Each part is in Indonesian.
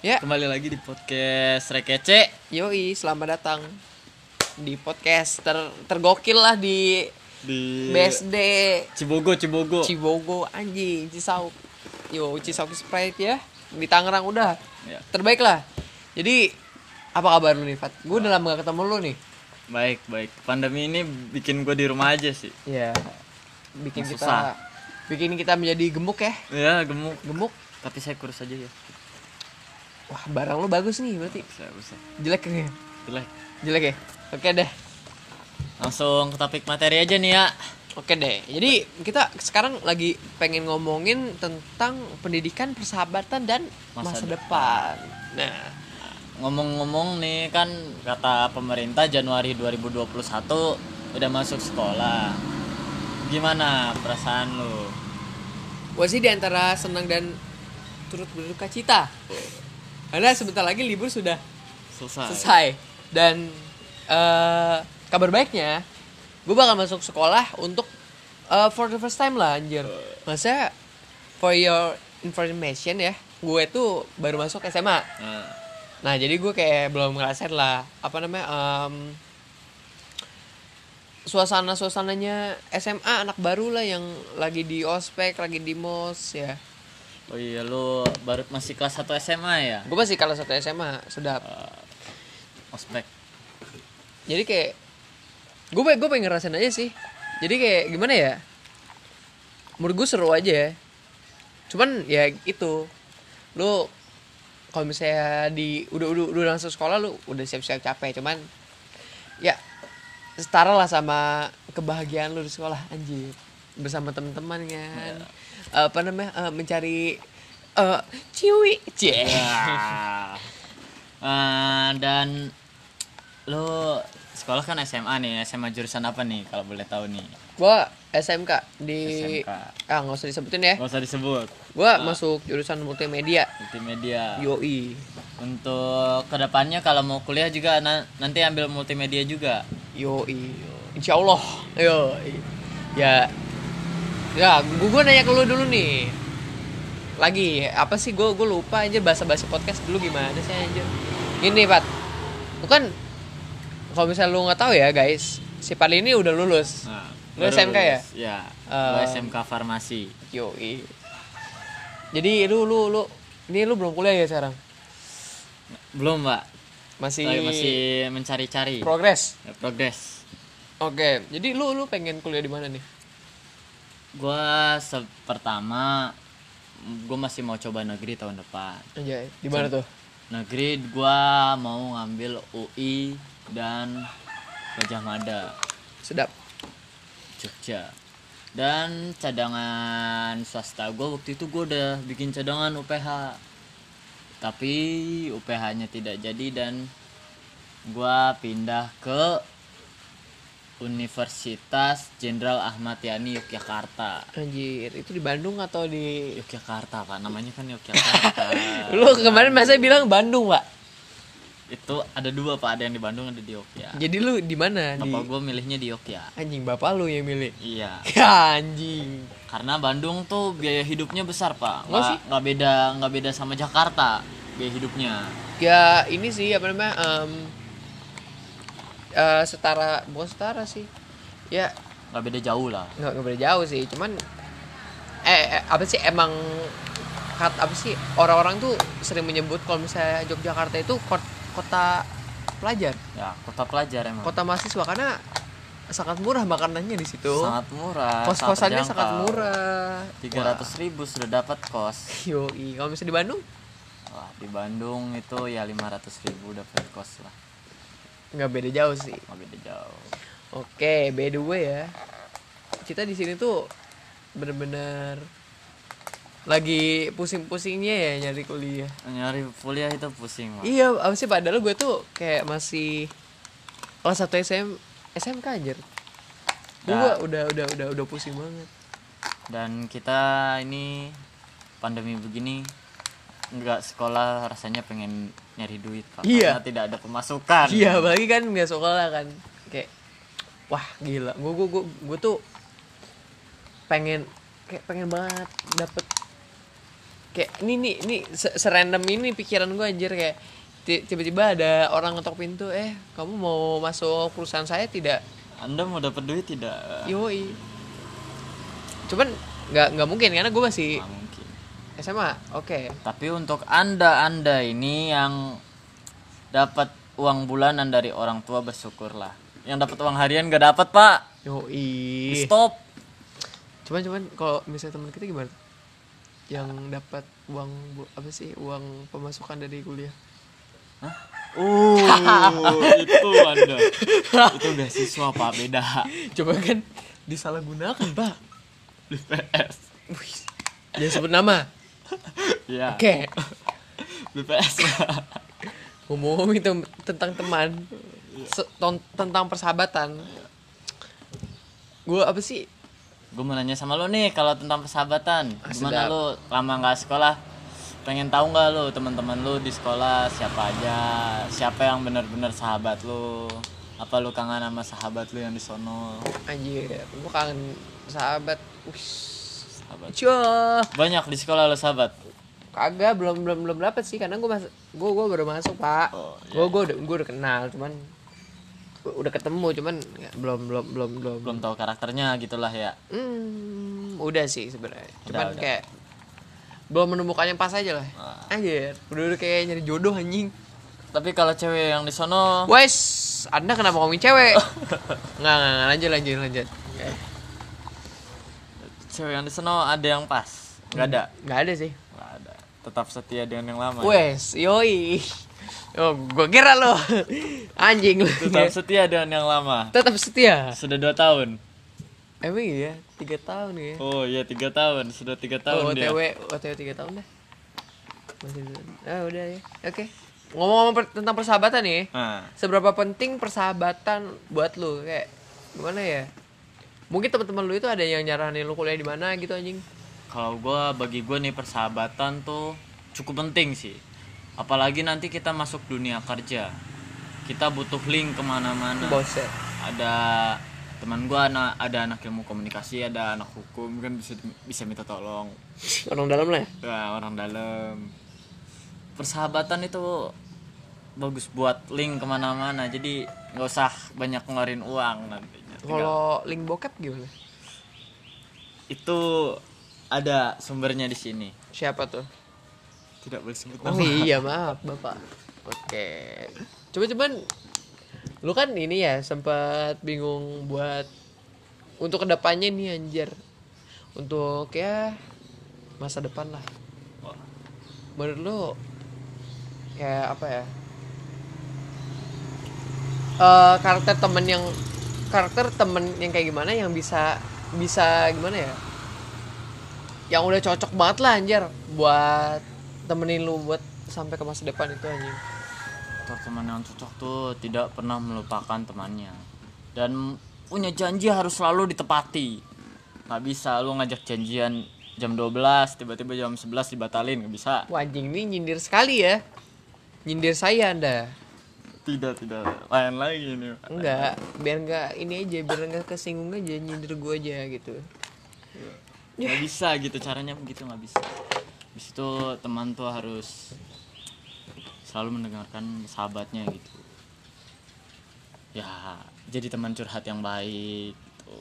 Ya, Kembali lagi di podcast Rekece yoi, selamat datang di podcast ter tergokil lah di di BSD Cibogo, Cibogo. Cibogo anjing Cisauk. Yo, Cisauk Sprite ya. Di Tangerang udah. Ya. Terbaik lah. Jadi apa kabar lu nih, Fat? Gue udah lama gak ketemu lu nih. Baik, baik. Pandemi ini bikin gue di rumah aja sih. Ya. Bikin kita Susah. bikin kita menjadi gemuk ya. Ya, gemuk. Gemuk. Tapi saya kurus aja ya. Wah, barang lu bagus nih berarti. Saya usah. Jelek ya? Jelek. Jelek ya? Oke deh. Langsung ke topik materi aja nih ya. Oke deh, jadi kita sekarang lagi pengen ngomongin tentang pendidikan, persahabatan, dan masa, Masa depan. Nah, Ngomong-ngomong nih kan kata pemerintah Januari 2021 udah masuk sekolah. Gimana perasaan lu? gue sih diantara senang dan turut berduka cita. Karena sebentar lagi libur sudah Selesai. selesai. Dan eh, kabar baiknya, gue bakal masuk sekolah untuk eh, for the first time lah anjir. Masa for your information ya, gue tuh baru masuk SMA. Nah, Nah jadi gue kayak belum ngerasain lah apa namanya em, suasana suasananya SMA anak baru lah yang lagi di ospek lagi di mos ya. Oh iya lu baru masih kelas 1 SMA ya? Gue masih kalau satu SMA sedap. Ospek. Jadi kayak gue gue pengen ngerasain aja sih. Jadi kayak gimana ya? Menurut gue seru aja. ya. Cuman ya itu lu kalau misalnya di udah udah udah langsung sekolah lu udah siap-siap capek cuman ya setara lah sama kebahagiaan lu di sekolah anjir bersama teman-teman kan apa namanya eh, mencari eh ciwi cie Ya. Eh, dan lu sekolah kan SMA nih, SMA jurusan apa nih kalau boleh tahu nih? gua SMK di SMK. ah nggak usah disebutin ya Gak usah disebut. gua masuk jurusan multimedia Multimedia. yoi Untuk kedepannya kalau mau kuliah juga na- nanti ambil multimedia juga. yoi insya Allah yoi ya ya gue gue nanya ke lu dulu nih lagi apa sih gue gue lupa aja bahasa bahasa podcast dulu gimana sih aja ini pat bukan kalau misalnya lu nggak tahu ya guys si Pali ini udah lulus Nah, Lu baru SMK ya? lulus. Iya. Eh. gua SMK Farmasi. yoi jadi lu lu lu ini lu belum kuliah ya sekarang Belum, Mbak. masih, Saya masih mencari-cari. progres Ya, progress. oke jadi lu lu pengen kuliah di mana nih Gua se- pertama gue masih mau coba negeri tahun depan. Anjay, di mana tuh negeri gua mau ngambil UI dan Gajah Mada sedap Jogja dan cadangan swasta gua waktu itu gua udah bikin cadangan UPH tapi UPH-nya tidak jadi dan gua pindah ke Universitas Jenderal Ahmad Yani Yogyakarta Anjir, itu di Bandung atau di Yogyakarta pak namanya kan Yogyakarta Iya. Lu kemarin masa bilang Bandung, Pak. itu ada dua pak ada yang di Bandung ada di Yogyakarta Jadi lu di mana? Di Bapak gue milihnya di Yogyakarta. anjing bapak lu yang milih. Iya. Ya anjing. Karena Bandung tuh biaya hidupnya besar pak. Nggak Oh, sih. Nggak nggak beda nggak beda sama Jakarta biaya hidupnya. Ya ini sih apa namanya? em, eh, setara bukan setara sih. Ya Nggak beda jauh lah. nggak nggak beda jauh sih, cuman eh, eh, apa sih emang kat apa sih orang-orang tuh sering menyebut kalau misalnya Yogyakarta itu kot- kota pelajar, Ya kota pelajar emang. kota mahasiswa karena sangat murah makanannya di situ. Sangat murah. Kos-kosannya sangat terjangkau. murah. 300 ribu sudah dapat kos. Yoi, kalau misalnya di Bandung Wah di Bandung itu ya 500 ribu dapat kos lah. nggak beda jauh sih. Nggak beda jauh. Oke, by the way ya. Kita di sini tuh bener-bener lagi pusing-pusingnya ya nyari kuliah. Nyari kuliah itu pusing pak. Iya, apa sih padahal gue tuh kayak masih kelas 1 SM SMK anjir. Gue Nah. udah udah udah udah pusing banget. Dan kita ini pandemi begini nggak sekolah rasanya pengen nyari duit pak. Iya. Karena tidak ada pemasukan. Iya, apalagi kan nggak sekolah kan. Kayak wah gila. Gue gue gue gue tuh pengen kayak pengen banget dapet kayak ini nih ini se- serandom ini pikiran gue anjir kayak ti- tiba-tiba ada orang ngetok pintu eh kamu mau masuk perusahaan saya tidak Anda mau dapat duit tidak? yoi cuman nggak nggak mungkin karena gue masih Nggak mungkin. SMA oke Tapi untuk Anda-anda ini yang dapat uang bulanan dari orang tua bersyukurlah. Yang dapat uang harian gak dapat, Pak. yoi Stop. cuman cuman kalau misalnya teman kita gimana yang dapat uang bu- apa sih uang pemasukan dari kuliah Uh, itu Anda. itu beasiswa, Pak, beda. coba kan disalahgunakan pak BPS. Wih, jangan sebut nama Ya. oke BPS. ngomongin tem- tentang teman se- ton- tentang persahabatan gue apa sih Gue mau nanya sama lo nih kalau tentang persahabatan. Ah, Gimana sedap. lo lama nggak sekolah? Pengen tahu nggak lo teman-teman lo di sekolah siapa aja? Siapa yang benar-benar sahabat lo? Apa lo kangen sama sahabat lo yang di sono? anjir gue kangen sahabat Ush. Sahabat. Cua. Banyak di sekolah lo sahabat. kagak belum belum belum dapet sih karena gue mas gue gue baru masuk pak Oh, gue gue udah gue udah kenal cuman udah ketemu cuman nggak- belum belum belum belum Belum tahu karakternya gitulah ya. Hmm, udah sih sebenarnya cuman udah. Ah. kayak belum menemukan yang pas aja lah anjir udah, udah kayak nyari jodoh anjing Tapi kalau cewek yang di sono wes anda kenapa ngomongin cewek nggak nggak nggak, lanjut lanjut lanjut Kayak, cewek yang di sono ada yang pas. Nggak ada. nggak ada sih Nggak ada. Tetap setia dengan yang lama. wes yoi oh gue kira lo anjing lu Tetap setia dengan yang lama. tetap setia Sudah dua tahun. emang iya tiga tahun ya Oh iya tiga tahun sudah tiga Oh, tahun dia. OTW, OTW 3 tahun dah. Masih belum. Ah, udah ya. Oke. Ngomong-ngomong per- tentang persahabatan nih. Nah, Seberapa penting persahabatan buat lu? Kayak gimana ya? Mungkin teman-teman lu itu ada yang nyaranin lu kuliah di mana gitu anjing. kalau gua bagi gua nih persahabatan tuh cukup penting sih. Apalagi nanti kita masuk dunia kerja, kita butuh link kemana-mana. Boset. Ada teman gua anak ada anak ilmu komunikasi, ada anak hukum kan bisa bisa minta tolong. Orang dalam lah. ya? Nah, orang dalam. Persahabatan itu bagus buat link kemana-mana. Jadi nggak usah banyak ngeluarin uang nantinya. Tinggal- Kalau link bokep gimana? itu ada sumbernya di sini Siapa tuh? tidak boleh sebut Oh iya, maaf, Bapak. Oke. Coba cuman lu kan ini ya sempat bingung buat untuk kedepannya nih anjir. Untuk ya masa depan lah. Menurut lu kayak apa ya? Eh karakter temen yang karakter temen yang kayak gimana yang bisa bisa gimana ya? yang udah cocok banget lah anjir buat temenin lu buat sampai ke masa depan itu anjing teman yang cocok tuh tidak pernah melupakan temannya dan punya janji harus selalu ditepati nggak bisa lu ngajak janjian jam 12 tiba-tiba jam 11 dibatalin nggak bisa Wah, anjing ini nyindir sekali ya nyindir saya anda tidak tidak lain lagi ini enggak biar enggak ini aja biar enggak kesinggung aja nyindir gua aja gitu nggak bisa gitu caranya begitu nggak bisa Habis itu teman tuh harus selalu mendengarkan sahabatnya gitu ya jadi teman curhat yang baik gitu.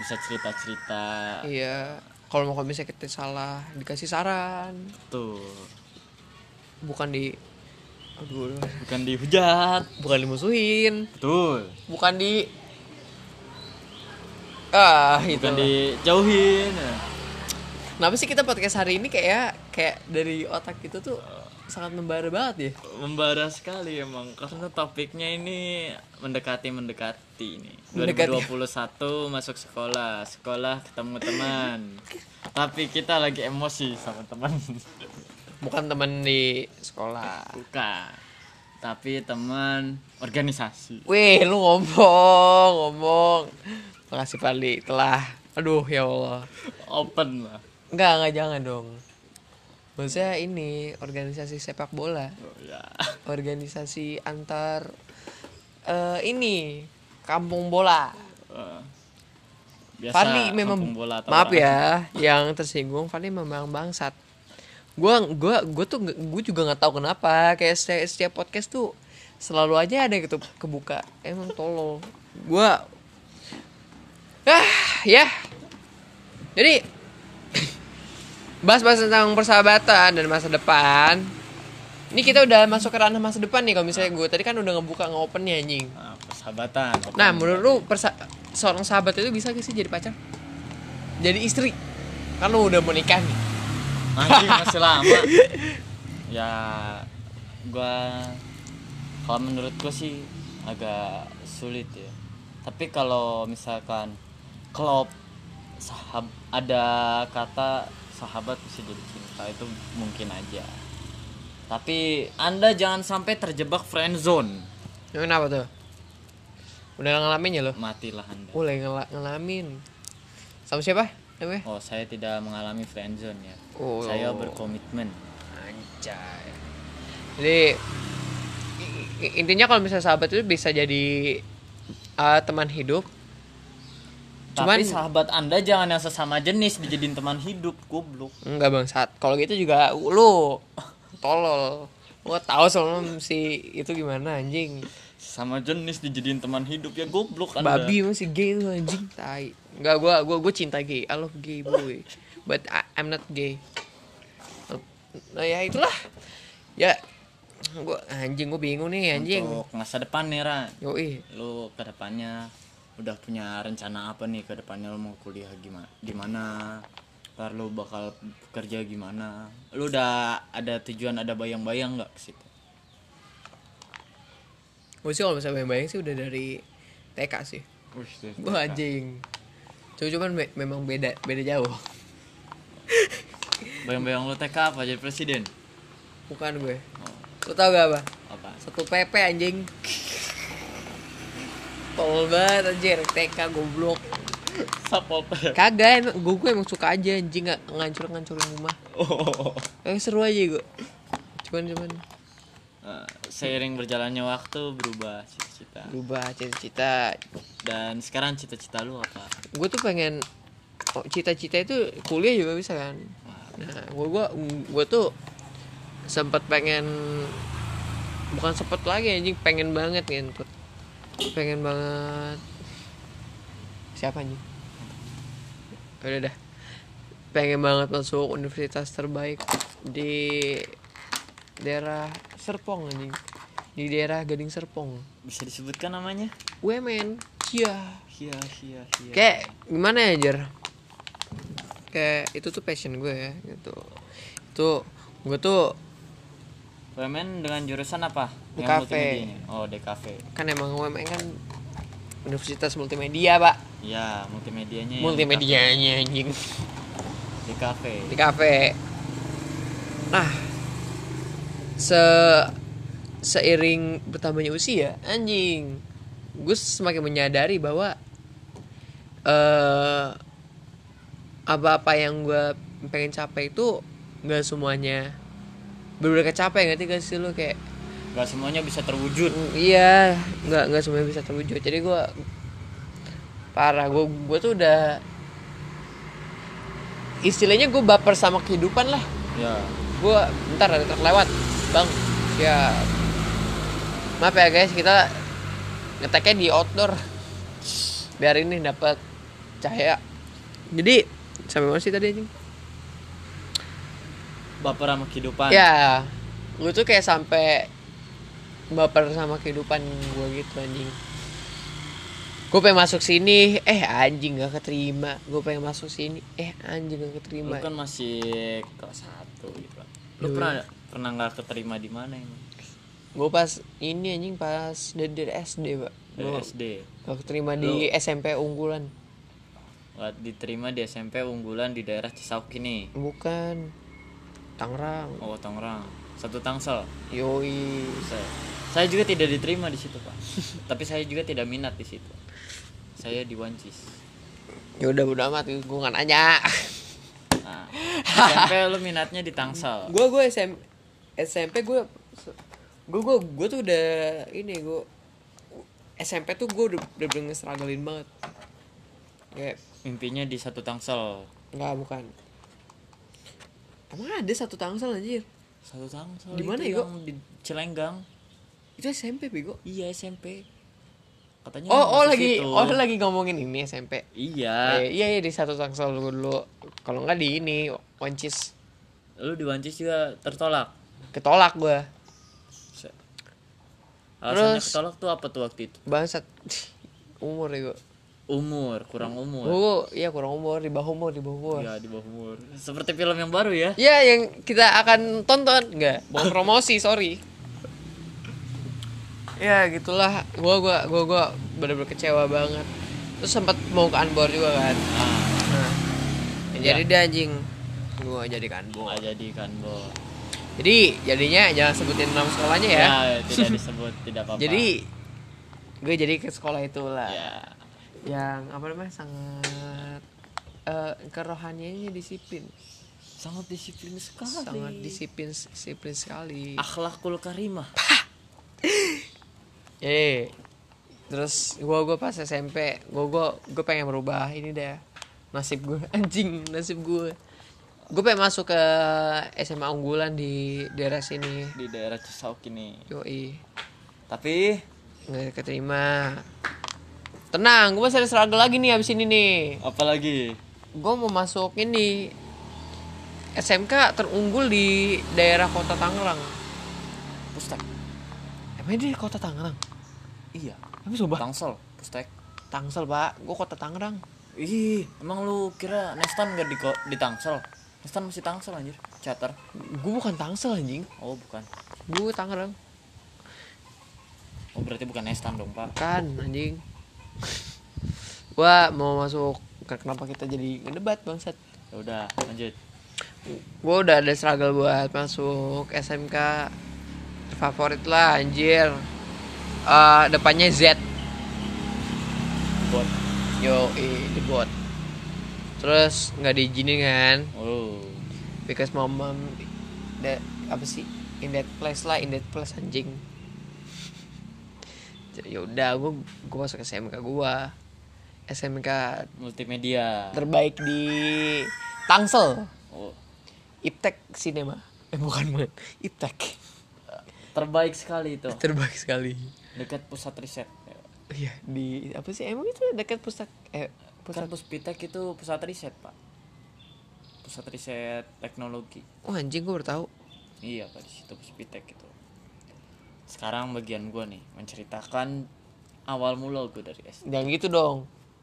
bisa cerita cerita iya kalau mau kalau misalnya kita salah dikasih saran tuh bukan di aduh aduh. bukan dihujat bukan dimusuhin betul bukan di ah itu bukan dijauhin ya. Kenapa sih kita podcast hari ini kayak ya, kayak dari otak itu tuh sangat membara banget ya? membara sekali emang karena topiknya ini mendekati mendekati ini Mendekati. 2021 masuk sekolah sekolah ketemu teman tapi kita lagi emosi sama teman Bukan teman di sekolah. bukan tapi teman organisasi Wih, lu ngomong, ngomong. Makasih Pali telah. Aduh, ya Allah. open lah Enggak, enggak jangan dong. Maksudnya ini organisasi sepak bola, oh, ya organisasi antar eh, ini kampung bola. Eh, biasa Fadli memang kampung bola atau maaf orang- ya yang tersinggung Fadli memang bangsat gue gua gua tuh gue juga nggak tahu kenapa kayak setiap, setiap podcast tuh selalu aja ada gitu kebuka emang tolol gue ah ya jadi bahas-bahas tentang persahabatan dan masa depan ini kita udah masuk ke ranah masa depan nih kalau misalnya gue tadi kan udah ngebuka nge-opennya anjing Nah, persahabatan. nah menurut lu persa- seorang sahabat itu bisa gak sih jadi pacar jadi istri kan lu udah menikah nih Anjing, masih lama. ya gua kalau menurut gua sih agak sulit ya. Tapi kalau misalkan klop sahab ada kata sahabat bisa jadi cinta itu mungkin aja. Tapi Anda jangan sampai terjebak friend zone. Ya, Kenapa tuh? Udah ngalamin ya lo? Matilah Anda. Udah ngel- ngalamin Sama siapa? Namanya? Oh, saya tidak mengalami friend zone ya. Oh. Saya berkomitmen. Anjay Jadi i- i- Intinya kalau misalnya sahabat itu bisa jadi uh, Teman hidup Cuman- Tapi sahabat Anda jangan yang sesama jenis dijadiin teman hidup, goblok. Enggak bang Sat Kalau gitu juga lu Tolol Gue tau soalnya si itu gimana anjing Sesama jenis dijadiin teman hidup ya goblok Anda. Babi masih gay tuh anjing Tai Enggak gue gua, gua cinta gay I love gay boy But I, I'm not gay Nah ya itulah Ya gua anjing gue bingung nih anjing Untuk masa depan nih, Ra. Yoi Lu ke depannya udah punya rencana apa nih ke depannya lu mau kuliah gimana? Di mana? Ntar lu bakal kerja gimana? Lu udah ada tujuan, ada bayang-bayang nggak ke situ? Gue sih kalau misalnya bayang sih udah dari TK sih Gue anjing Cuma cuman me- memang beda beda jauh Bayang-bayang lu TK apa jadi presiden? Oh, Bukan gue Lo tau gak apa? Apa? Satu PP anjing Tolol banget anjir TK goblok Sapol Pep. Kagak emang gue, gue emang suka aja anjing nggak ngancur-ngancurin rumah. Oh. Eh seru aja gue. Cuman cuman Eh, seiring berjalannya waktu berubah cita-cita berubah cita-cita. dan sekarang cita-cita lu apa Gue tuh pengen oh, cita-cita itu kuliah juga bisa kan. Nah, gue gua gue tuh sempat pengen bukan sempet lagi anjing pengen banget ngentut pengen banget siapa anjing udah dah pengen banget masuk universitas terbaik di daerah Serpong anjing di daerah Gading Serpong bisa disebutkan namanya UMN iya Hia hia hia kayak gimana ya Jer kayak itu tuh passion gue ya gitu itu gue tuh Women dengan jurusan apa Di Yang kafe. multimedianya? oh di kafe kan emang UMN kan universitas multimedia pak ya multimedianya yang di kafe. multimedianya anjing di kafe di kafe nah se seiring bertambahnya usia anjing gue semakin menyadari bahwa eh apa-apa yang gue pengen capai itu nggak semuanya bener kecapai ngerti gak sih lo kayak gak semuanya bisa terwujud Mm, iya nggak nggak semuanya bisa terwujud jadi gua parah gue gue tuh udah istilahnya gue baper sama kehidupan lah ya gue bentar ada truk lewat bang ya maaf ya guys kita ngeteknya di outdoor biar ini dapat cahaya jadi sampai mana sih tadi anjing baper sama kehidupan ya gue tuh kayak sampai baper sama kehidupan gue gitu anjing gue pengen masuk sini eh anjing gak keterima gue pengen masuk sini eh anjing gak lu keterima kan masih kelas satu gitu lu Dulu. pernah pernah nggak keterima di mana ini gue pas ini anjing pas dari, dari SD pak dari gue SD gak keterima di SMP unggulan Wah, diterima di SMP unggulan di daerah Cisauk ini bukan Tangerang oh Tangerang satu Tangsel yoi saya saya juga tidak diterima di situ pak tapi saya juga tidak minat di situ saya di Wancis yaudah Ya udah amat gue gak nanya nah, SMP lu minatnya di Tangsel gue gue SM, SMP gue gue gue gue tuh udah ini gue SMP tuh gue udah udah bener strugglein banget kayak mimpinya di satu Tangsel nggak bukan Emang ada satu tangsel anjir? Satu tangsel Di mana, itu Yo? yang Di Celenggang. Itu SMP bego. Iya SMP. Katanya Oh, oh Iya, masuk lagi situ. oh lagi ngomongin ini SMP. Iya. Eh, iya iya di satu tangsel dulu, dulu. Kalau nggak di ini Wancis Lu di Wancis juga tertolak. ketolak gua. Se- Alasannya Terus- ketolak tuh apa tuh waktu itu? Bangsat. Umur ya gua. Umur, kurang umur. Gua iya kurang umur, di bawah umur, di bawah umur. Iya, di bawah umur. Seperti film yang baru ya. Ya yang kita akan tonton nggak? Mau promosi, sorry. Ya gitulah, gua gua gua gua bener-bener kecewa banget. Terus sempat mau ke Anbor juga kan. Nah, Nah, ya jadi dia anjing gua jadi ke Anbor. nggak jadi kan, Bo. Jadi jadinya jangan sebutin nama sekolahnya ya. Ya, tidak disebut, tidak apa-apa. Jadi gue jadi ke sekolah itulah ya. yang apa namanya sangat eh kerohaniannya disiplin, sangat disiplin sekali. sangat disiplin disiplin sekali. Ah. Akhlakul karimah. Eh, terus gua gua pas SMP, gua gua gua pengen merubah ini deh nasib gua anjing nasib gua. Gua pengen masuk ke SMA unggulan di daerah sini. di daerah Cisauk ini. Yoi, Tapi nggak keterima. Tenang, gua masih ada struggle lagi nih abis ini nih. apalagi Gua mau masuk ini SMK terunggul di daerah kota Tangerang. Pustek. Emang di kota Tangerang? Iya. Emang coba? Tangsel, Pustek. Tangsel pak, gua kota Tangerang. Ih, emang lu kira Nestan gak di, ko- di Tangsel? Nestan masih Tangsel anjir, Cater. Gua bukan Tangsel anjing. Oh, bukan. Gue Tangerang. Oh, berarti bukan Nestan dong, Pak. Kan anjing. Gua mau masuk ke- kenapa kita jadi ngedebat bangsat. Ya udah, lanjut. Gua udah ada struggle buat masuk SMK favorit lah anjir. Eh, depannya Z. Buat Yo, eh, debot. Terus nggak diizinin kan? oh, Because my mom that apa sih? In that place lah, in that place anjing. Ya udah, gua gua masuk SMK gua. SMK multimedia. terbaik di Tangsel Oh, Iptek Cinema eh bukan bukan Iptek terbaik sekali itu. terbaik sekali Dekat pusat riset. iya di apa sih emang itu dekat pusat eh Pusat pusat Kan Puspitek itu pusat riset, Pak. Pusat riset teknologi. oh anjing gue baru tahu Iya pak di situ Puspitek itu. Sekarang bagian gua nih menceritakan awal mula gue dari SD. jangan gitu dong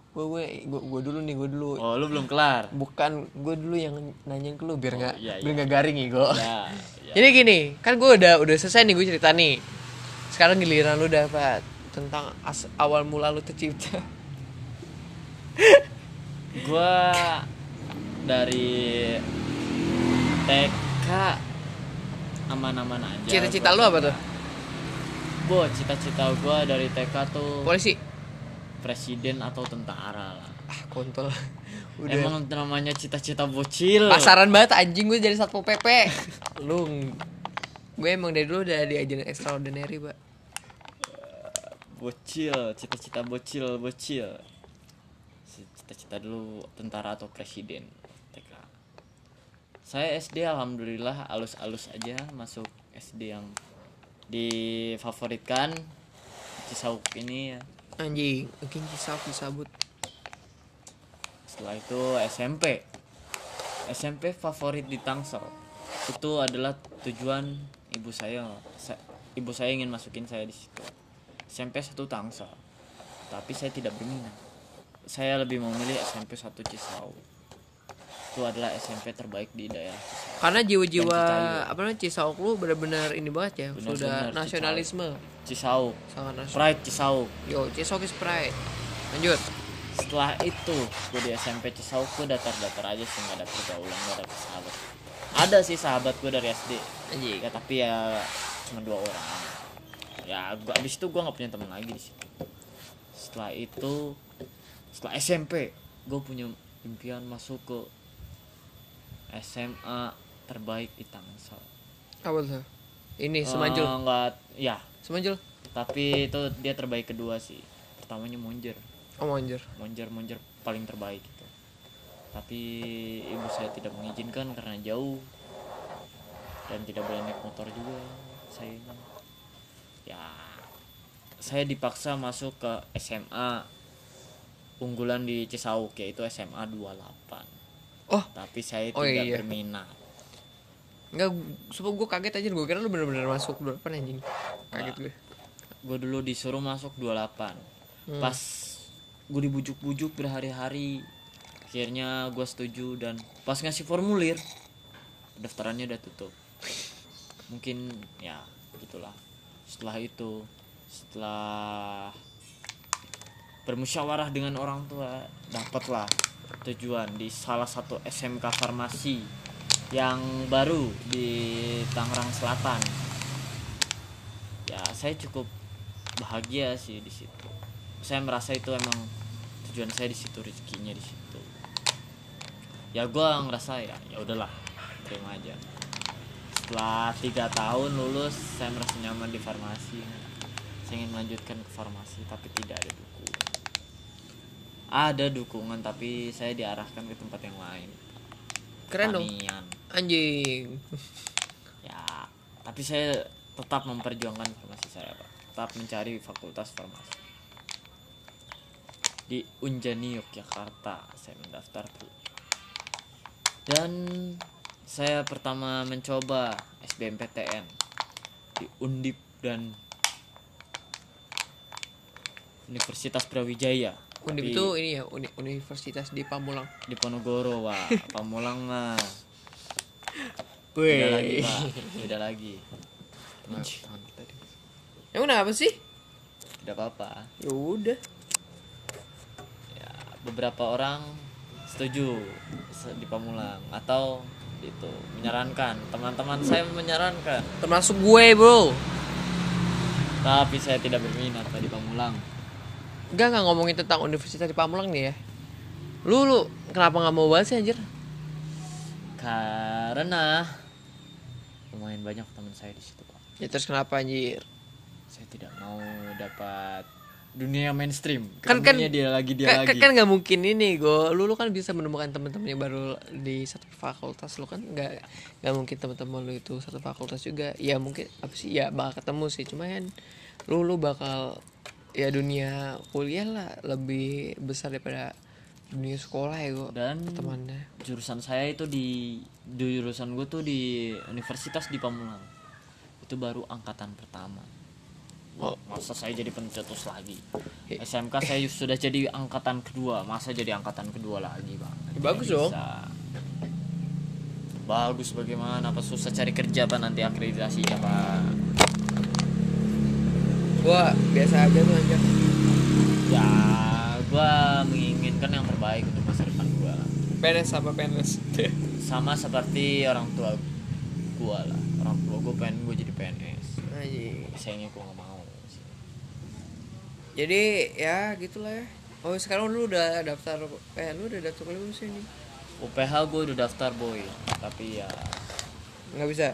gue gue gue, gue dulu nih gue dulu Oh lu belum kelar. bukan gue dulu yang nanya ke lu biar nggak iya, biar nggak garing ya gue Ya, ya. jadi gini kan gue udah udah selesai nih gue cerita nih sekarang giliran lu dapat tentang as- awal mula lu tercipta Gue dari TK aman-aman aja. cita-cita lu Ya, gua. apa tuh Gua cita-cita gua dari TK tuh polisi presiden atau tentara lah. ah kontol udah Emang namanya cita-cita bocil. pasaran banget anjing gue jadi satpol pp lu ng- gue emang dari dulu udah diajarin extraordinary pak Bocil, cita-cita bocil, bocil. Cita-cita dulu tentara atau presiden TK. Saya SD alhamdulillah alus-alus aja masuk SD yang difavoritkan Cisauk ini ya. anjing mungkin kisah disabut Setelah itu SMP. SMP favorit di Tangsel. Itu adalah tujuan ibu saya. Sa- ibu saya ingin masukin saya di situ. SMP satu Tangsel. Tapi saya tidak berminat. Saya lebih memilih SMP 1 Cisauk. Itu adalah SMP terbaik di daerah Cisauk. karena jiwa-jiwa Dan Cicayu. apa namanya cisauk lu benar-benar ini banget ya Benar-benar sudah Cicayu. nasionalisme Cisauk. sangat nasional Pride Cisauk. yo cisauk is pride lanjut setelah itu gue di SMP Cisauk gue datar-datar aja sih nggak ada pergaulan nggak ada sahabat ada sih sahabat gue dari SD Anjing. ya tapi ya cuma dua orang ya gua abis itu gue nggak punya teman lagi di situ setelah itu setelah SMP gue punya impian masuk ke SMA terbaik di Tangsel apa tuh ini semanjul Eh, nggak ya semanjul tapi itu dia terbaik kedua sih pertamanya Monjer oh anjir monjer-monjer paling terbaik gitu. Tapi ibu saya tidak mengizinkan karena jauh dan tidak boleh naik motor juga saya ya saya dipaksa masuk ke SMA unggulan di Cisauk yaitu SMA 28 Oh, tapi saya Oh, tidak iya. berminat enggak, sumpah gue kaget aja, gue kira lu bener-bener masuk berapa anjing Kaget gue gue dulu disuruh masuk 28 pas gue dibujuk-bujuk berhari-hari akhirnya gue setuju dan pas ngasih formulir pendaftarannya udah tutup mungkin ya gitulah setelah itu setelah bermusyawarah dengan orang tua dapatlah tujuan di salah satu SMK farmasi yang baru di Tangerang Selatan ya saya cukup bahagia sih di situ saya merasa itu emang tujuan saya di situ rezekinya di situ ya gua ngerasa ya ya udahlah terima aja setelah tiga tahun lulus saya merasa nyaman di farmasi saya ingin melanjutkan ke farmasi tapi tidak ada dukungan ada dukungan tapi saya diarahkan ke tempat yang lain Keren dong Pertanian. Anjing ya tapi saya tetap memperjuangkan farmasi saya pak tetap mencari fakultas farmasi di Unjani Yogyakarta saya mendaftar dulu dan saya pertama mencoba SBMPTN di Undip dan Universitas Brawijaya Undip Tapi itu ini ya, uni- Universitas di Pamulang di Ponorogo wah Pamulang mah Wih. Beda lagi, Pak. Beda lagi. Teman tangan kita deh. Emang kenapa sih? Tidak apa-apa. Ya udah Ya, beberapa orang setuju se- di Pamulang atau itu menyarankan teman-teman saya menyarankan Termasuk gue bro tapi saya tidak berminat Pak, di Pamulang Enggak, enggak ngomongin tentang Universitas di Pamulang nih ya Lu, lu kenapa nggak mau bahas sih anjir? karena lumayan banyak teman saya di situ Pak. Ya terus kenapa anjir? saya tidak mau dapat dunia mainstream Kan- kan- Ketemunya dia lagi dia Kan- kan lagi kan nggak mungkin ini go lu lu kan bisa menemukan teman-temannya baru di satu fakultas lu kan nggak nggak mungkin teman-teman lu itu satu fakultas juga ya mungkin apa sih ya bakal ketemu sih cuma kan lu lu bakal ya dunia kuliah lah lebih besar daripada dunia sekolah ya go dan temannya jurusan saya itu di, di jurusan gue tuh di universitas di Pamulang itu baru angkatan pertama oh, masa saya jadi pencetus lagi SMK saya sudah jadi angkatan kedua masa jadi angkatan kedua lagi bang Ya, bagus Tidak dong. bisa. bagus bagaimana apa susah cari kerja pak nanti akreditasinya pak gua biasa aja tuh aja ya gue menginginkan yang terbaik untuk masa depan gue PNS apa PNS sama seperti orang tua gue lah orang tua gue pengen gue jadi PNS Anjing. sayangnya gue nggak mau sih. jadi ya gitulah ya oh sekarang lu udah daftar eh lu udah daftar kuliah belum sih ini UPH gue udah daftar boy tapi ya nggak bisa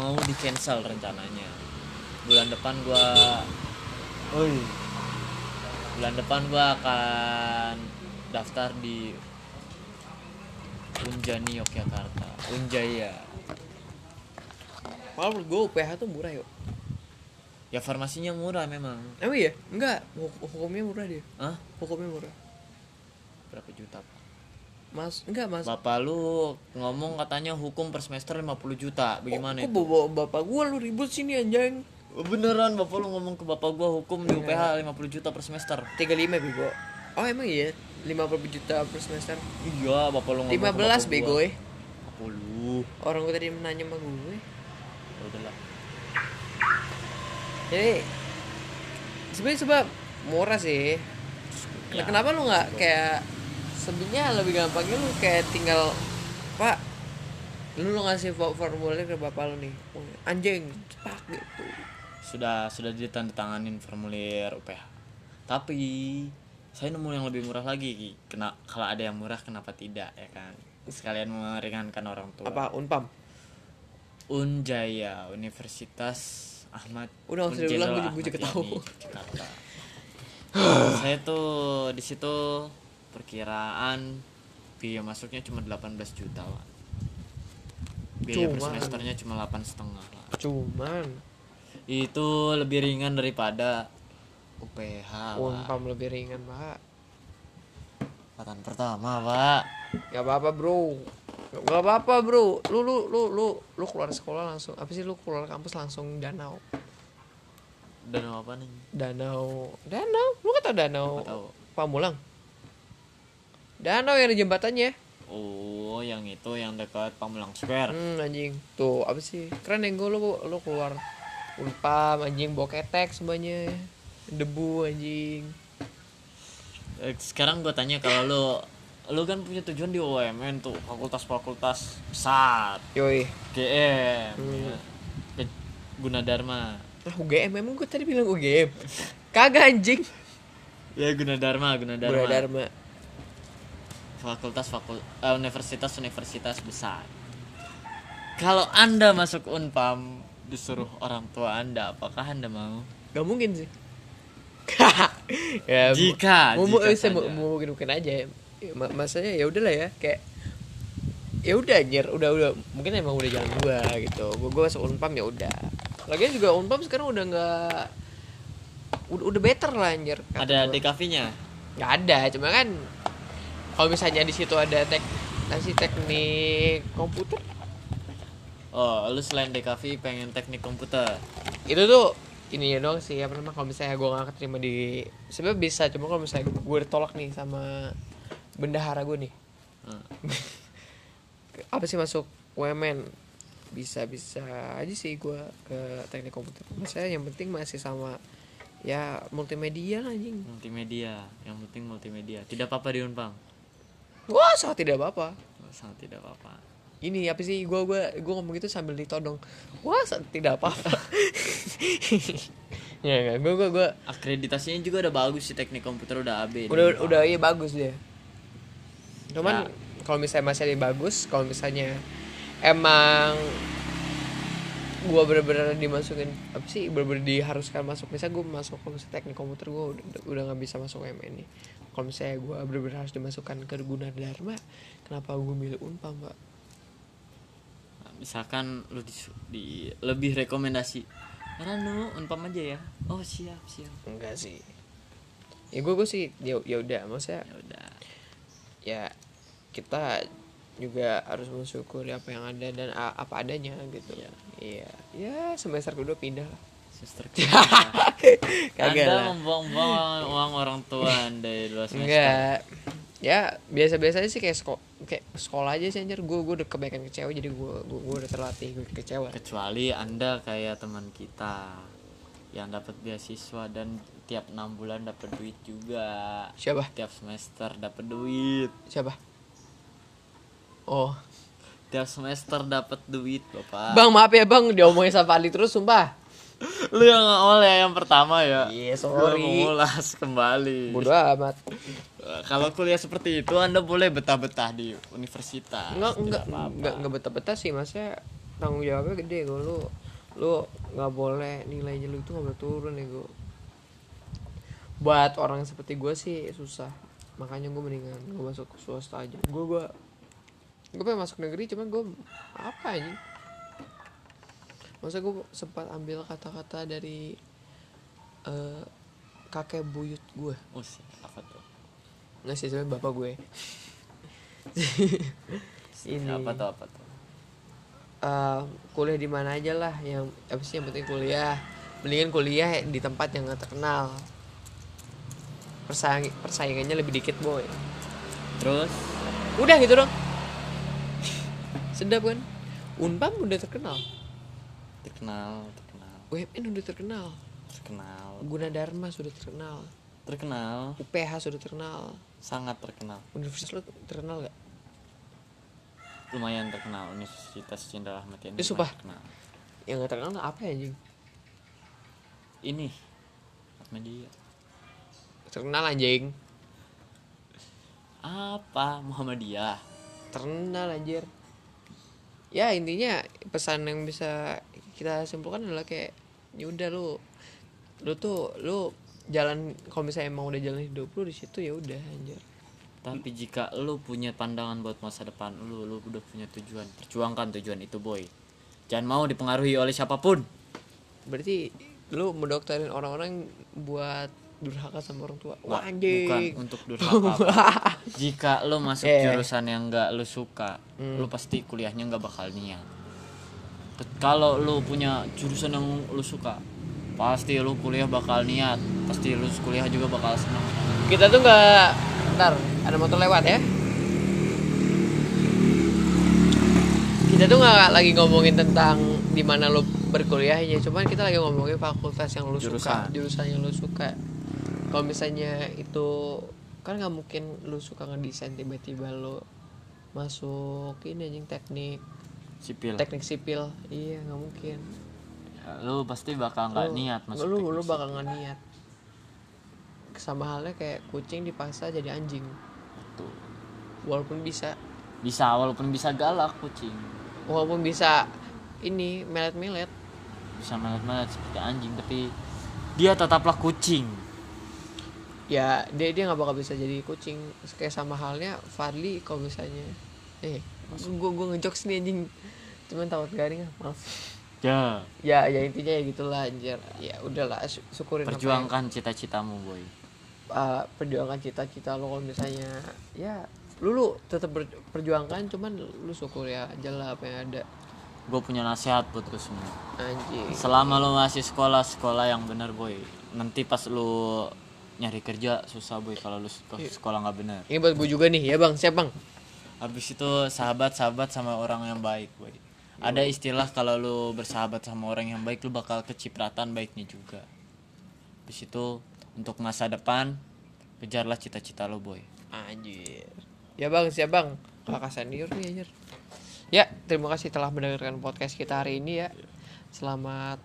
mau di cancel rencananya bulan depan gue bulan depan gue akan daftar di Unjani Yogyakarta ya. Unjaya Malah menurut gue UPH tuh murah yuk ya farmasinya murah memang Emang iya? Enggak, huk- hukumnya murah dia ah Hukumnya murah berapa juta Pak? Mas, enggak mas Bapak lu ngomong katanya hukum per semester 50 juta. Bagaimana Kok itu? bawa bapak gua lu ribut sini anjing Beneran bapak lu ngomong ke bapak gua hukum di UPH 50 juta per semester. 35 bego Oh emang iya? 50 juta per semester Iya, bapak lu ngomong. 15 bego eh 10. Orang gua tadi nanya sama gue Ya udahlah. Jadi sebenarnya sebab murah sih Nah, Ya. Kenapa lu nggak kayak sebenarnya lebih gampangnya lu kayak tinggal Pak lu, lu ngasih fo- formulir ke bapak lu nih anjing cepat gitu Sudah sudah ditandatanganin formulir UPH. Tapi saya nemu yang lebih murah lagi. Ki. Kena kalau ada yang murah kenapa tidak ya kan? Sekalian meringankan orang tua. apa unpam Unjaya Universitas Ahmad Udah, nggak usah Jenderal diulang, gua Ahmad juga tahu. Yani, Jakarta. saya tuh di situ perkiraan biaya masuknya cuma 18 juta Pak. biaya per Cuman. semesternya cuma delapan setengah cuman itu lebih ringan daripada UPH Oh, pak unpam lebih ringan pak angkatan pertama pak nggak apa apa bro nggak apa apa bro lu lu lu lu lu keluar sekolah langsung apa sih lu keluar kampus langsung danau dan apa nih danau danau lu kata danau Nggak tahu. pamulang danau yang ada jembatannya oh yang itu yang dekat Pamulang Square Hmm, anjing. Tuh, apa sih? Keren ya, yang gue lo, lo keluar unpam anjing bawa ketek semuanya. Debu anjing. Eh, sekarang gue tanya kalau lu lu kan punya tujuan di UMN tuh fakultas-fakultas besar Yoi. GM ya. Ke- Gunadarma Nah, UGM emang gue tadi bilang UGM. Kagak anjing. ya Gunadarma Gunadarma Bro Dharma. fakultas fakultas universitas universitas besar kalau anda masuk unpam disuruh orang tua anda apakah anda mau Gak mungkin sih. ya, Jika, mau, mau, jika saya mau, saja. mau mungkin mungkin aja. Ya, ma- maksudnya ya udahlah ya, kayak ya udah anjir, udah udah mungkin emang udah jalan gua gitu. Gua gua masuk Unpam ya udah. Lagian juga Unpam sekarang udah nggak udah, udah better lah anjir. kata ada gua. DKV-nya nggak ada, cuma kan kalau misalnya di situ ada tek nasi teknik komputer oh lu selain DKV pengen teknik komputer itu tuh ini ya dong sih apa namanya kalau misalnya gue nggak keterima di sebenarnya bisa cuma kalau misalnya gue ditolak nih sama bendahara gue nih Hmm. apa sih masuk UMN bisa bisa aja sih gue ke teknik komputer maksudnya yang penting masih sama ya multimedia lah, anjing multimedia yang penting multimedia tidak apa-apa di unpam wah sangat tidak apa apa Oh, sangat tidak apa-apa ini apa sih gue gue gue ngomong gitu sambil ditodong wah sangat tidak apa apa ya gue gue gue akreditasinya juga udah bagus sih teknik komputer udah AB udah di Unpam. udah iya bagus dia Nah. cuman Ya. kalau misalnya masih ada yang bagus kalau misalnya emang gua bener-bener dimasukin apa sih bener-bener diharuskan masuk misalnya gua masuk kalau misalnya teknik komputer gua udah udah nggak bisa masuk UMN nih kalau misalnya gua bener-bener harus dimasukkan ke Gunadarma kenapa gua milih unpam mbak Nah, misalkan lu di, di- lebih rekomendasi Rano unpam aja ya oh siap siap enggak sih ya gua gua sih ya ya udah maksudnya ya udah ya kita juga harus mensyukuri apa yang ada dan a- apa adanya gitu ya iya ya semester kedua pindah lah suster kita. kagak anda lah membuang-buang uang orang tua anda di luar semester enggak ya biasa-biasa aja sih kayak seko- kayak sekolah aja sih anjir gue gue udah kebanyakan kecewa jadi gue gue udah terlatih gue kecewa kecuali anda kayak teman kita yang dapat beasiswa dan tiap enam bulan dapat duit juga siapa tiap semester dapat duit siapa oh tiap semester dapat duit bapak bang maaf ya bang diomongin sama Ali terus sumpah lu yang awal ya yang pertama ya Iya, Gua sorry. mengulas kembali bodoh amat Eh, Kalau kuliah seperti itu Anda boleh betah-betah di universitas. Enggak, enggak, Tidak apa-apa. enggak, enggak betah-betah sih maksudnya tanggung jawabnya gede gue lu lu nggak boleh nilainya lu itu nggak boleh turun ya gue buat orang seperti gue sih susah makanya gue mendingan gue masuk swasta aja gue gue gue pengen masuk negeri cuman gue apa aja masa gue sempat ambil kata-kata dari eh, kakek buyut gue Oh, sih, apa tuh? nggak sih sebenarnya bapak gue Sih, Ini. Apa tuh apa tuh? Eh, kuliah di mana aja lah yang apa sih yang penting kuliah mendingan kuliah di tempat yang nggak terkenal Persaing, persaingannya lebih dikit boy Terus udah gitu dong sedap kan unpam udah terkenal terkenal, terkenal, UMN udah terkenal terkenal, Gunadarma sudah terkenal terkenal, UPH sudah terkenal sangat terkenal. universitas lu terkenal gak Lumayan terkenal Universitas Jenderal Ahmad Yani. Ih, lumayan sumpah. terkenal. yang nggak terkenal apa ya anjing Ini Ahmadiyah. terkenal anjing Apa Muhammadiyah? terkenal anjir ya intinya pesan yang bisa kita simpulkan adalah kayak ya udah lu lu tuh lu jalan kalau misalnya emang udah jalan hidup lu di situ ya udah anjir Tapi jika lu punya pandangan buat masa depan lu, lu udah punya tujuan. Perjuangkan tujuan itu, boy. Jangan mau dipengaruhi oleh siapapun. Berarti lu mendokterin orang-orang buat durhaka sama orang tua. Wah, Wah, anjing. Bukan untuk durhaka. Pak. Jika lu masuk Eh. jurusan yang nggak lu suka, lu pasti kuliahnya nggak bakal niat. Ke- Kalau lu punya jurusan yang lu suka, pasti lu kuliah bakal niat. Pasti lu kuliah juga bakal senang. Kita tuh nggak ntar ada motor lewat ya. Kita tuh nggak lagi ngomongin tentang di mana lu berkuliahnya, cuman kita lagi ngomongin fakultas yang lu suka, Jurusan. jurusan yang lu suka. Kalau misalnya itu kan nggak mungkin lu suka ngedesain tiba-tiba lu masuk ini anjing teknik Sipil. teknik sipil iya nggak mungkin Lu pasti bakal nggak Lu- niat masuk. lu teknik lu bakal nggak niat sama halnya kayak kucing dipaksa jadi anjing sipil. Tuh. walaupun bisa Bisa walaupun bisa galak kucing. walaupun bisa ini melet-melet Bisa melet-melet seperti anjing tapi dia tetaplah kucing. ya dia dia nggak bakal bisa jadi kucing kayak sama halnya Fadli kalau misalnya eh gua gua ngejokes nih anjing cuman tawat garing ah, maaf Ya, ya ya intinya ya gitulah anjir ya udahlah sy- syukurin apa yang- perjuangkan cita-citamu, boy. uh, perjuangkan cita-cita lo kalau misalnya ya lu, lu tetap ber- perjuangkan cuman lu syukur ya aja lah apa yang ada gue punya nasihat buat lu semua anjing selama lu masih sekolah sekolah yang bener boy nanti pas lu nyari kerja susah boy kalau lu sek- Iya. sekolah nggak bener ini buat gue juga nih ya bang siap bang habis itu sahabat sahabat sama orang yang baik Iya, boy ada istilah kalau lu bersahabat sama orang yang baik lu bakal kecipratan baiknya juga habis itu untuk masa depan kejarlah cita-cita lu boy anjir ya bang siap bang kakak senior nih anjir ya terima kasih telah mendengarkan podcast kita hari ini ya selamat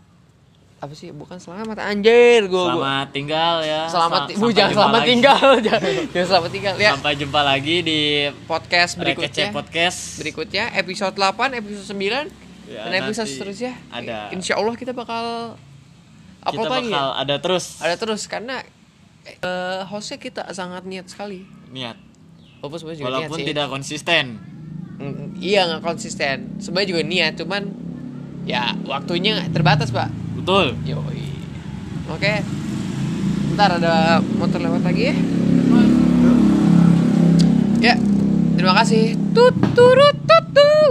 apa sih bukan selamat anjir gue selamat tinggal ya selamat Sa- bu sampai jangan jumpa selamat lagi. tinggal jangan, jangan selamat tinggal ya sampai jumpa lagi di podcast Rekece berikutnya Podcast berikutnya episode 8, episode 9 Ya, dan episode nanti seterusnya. ada. Insya Allah kita bakal kita upload lagi. bakal ya? ada terus Ada terus karena eh, hostnya kita sangat niat sekali. niat Walaupun sebenarnya juga walaupun niat sih. tidak konsisten Mm, Iya nggak konsisten. Sebenarnya juga niat, cuman ya waktunya terbatas pak. betul Yoi. Oke. Ntar ada motor lewat lagi ya. Ya. Terima kasih. Tut turut tut, tut.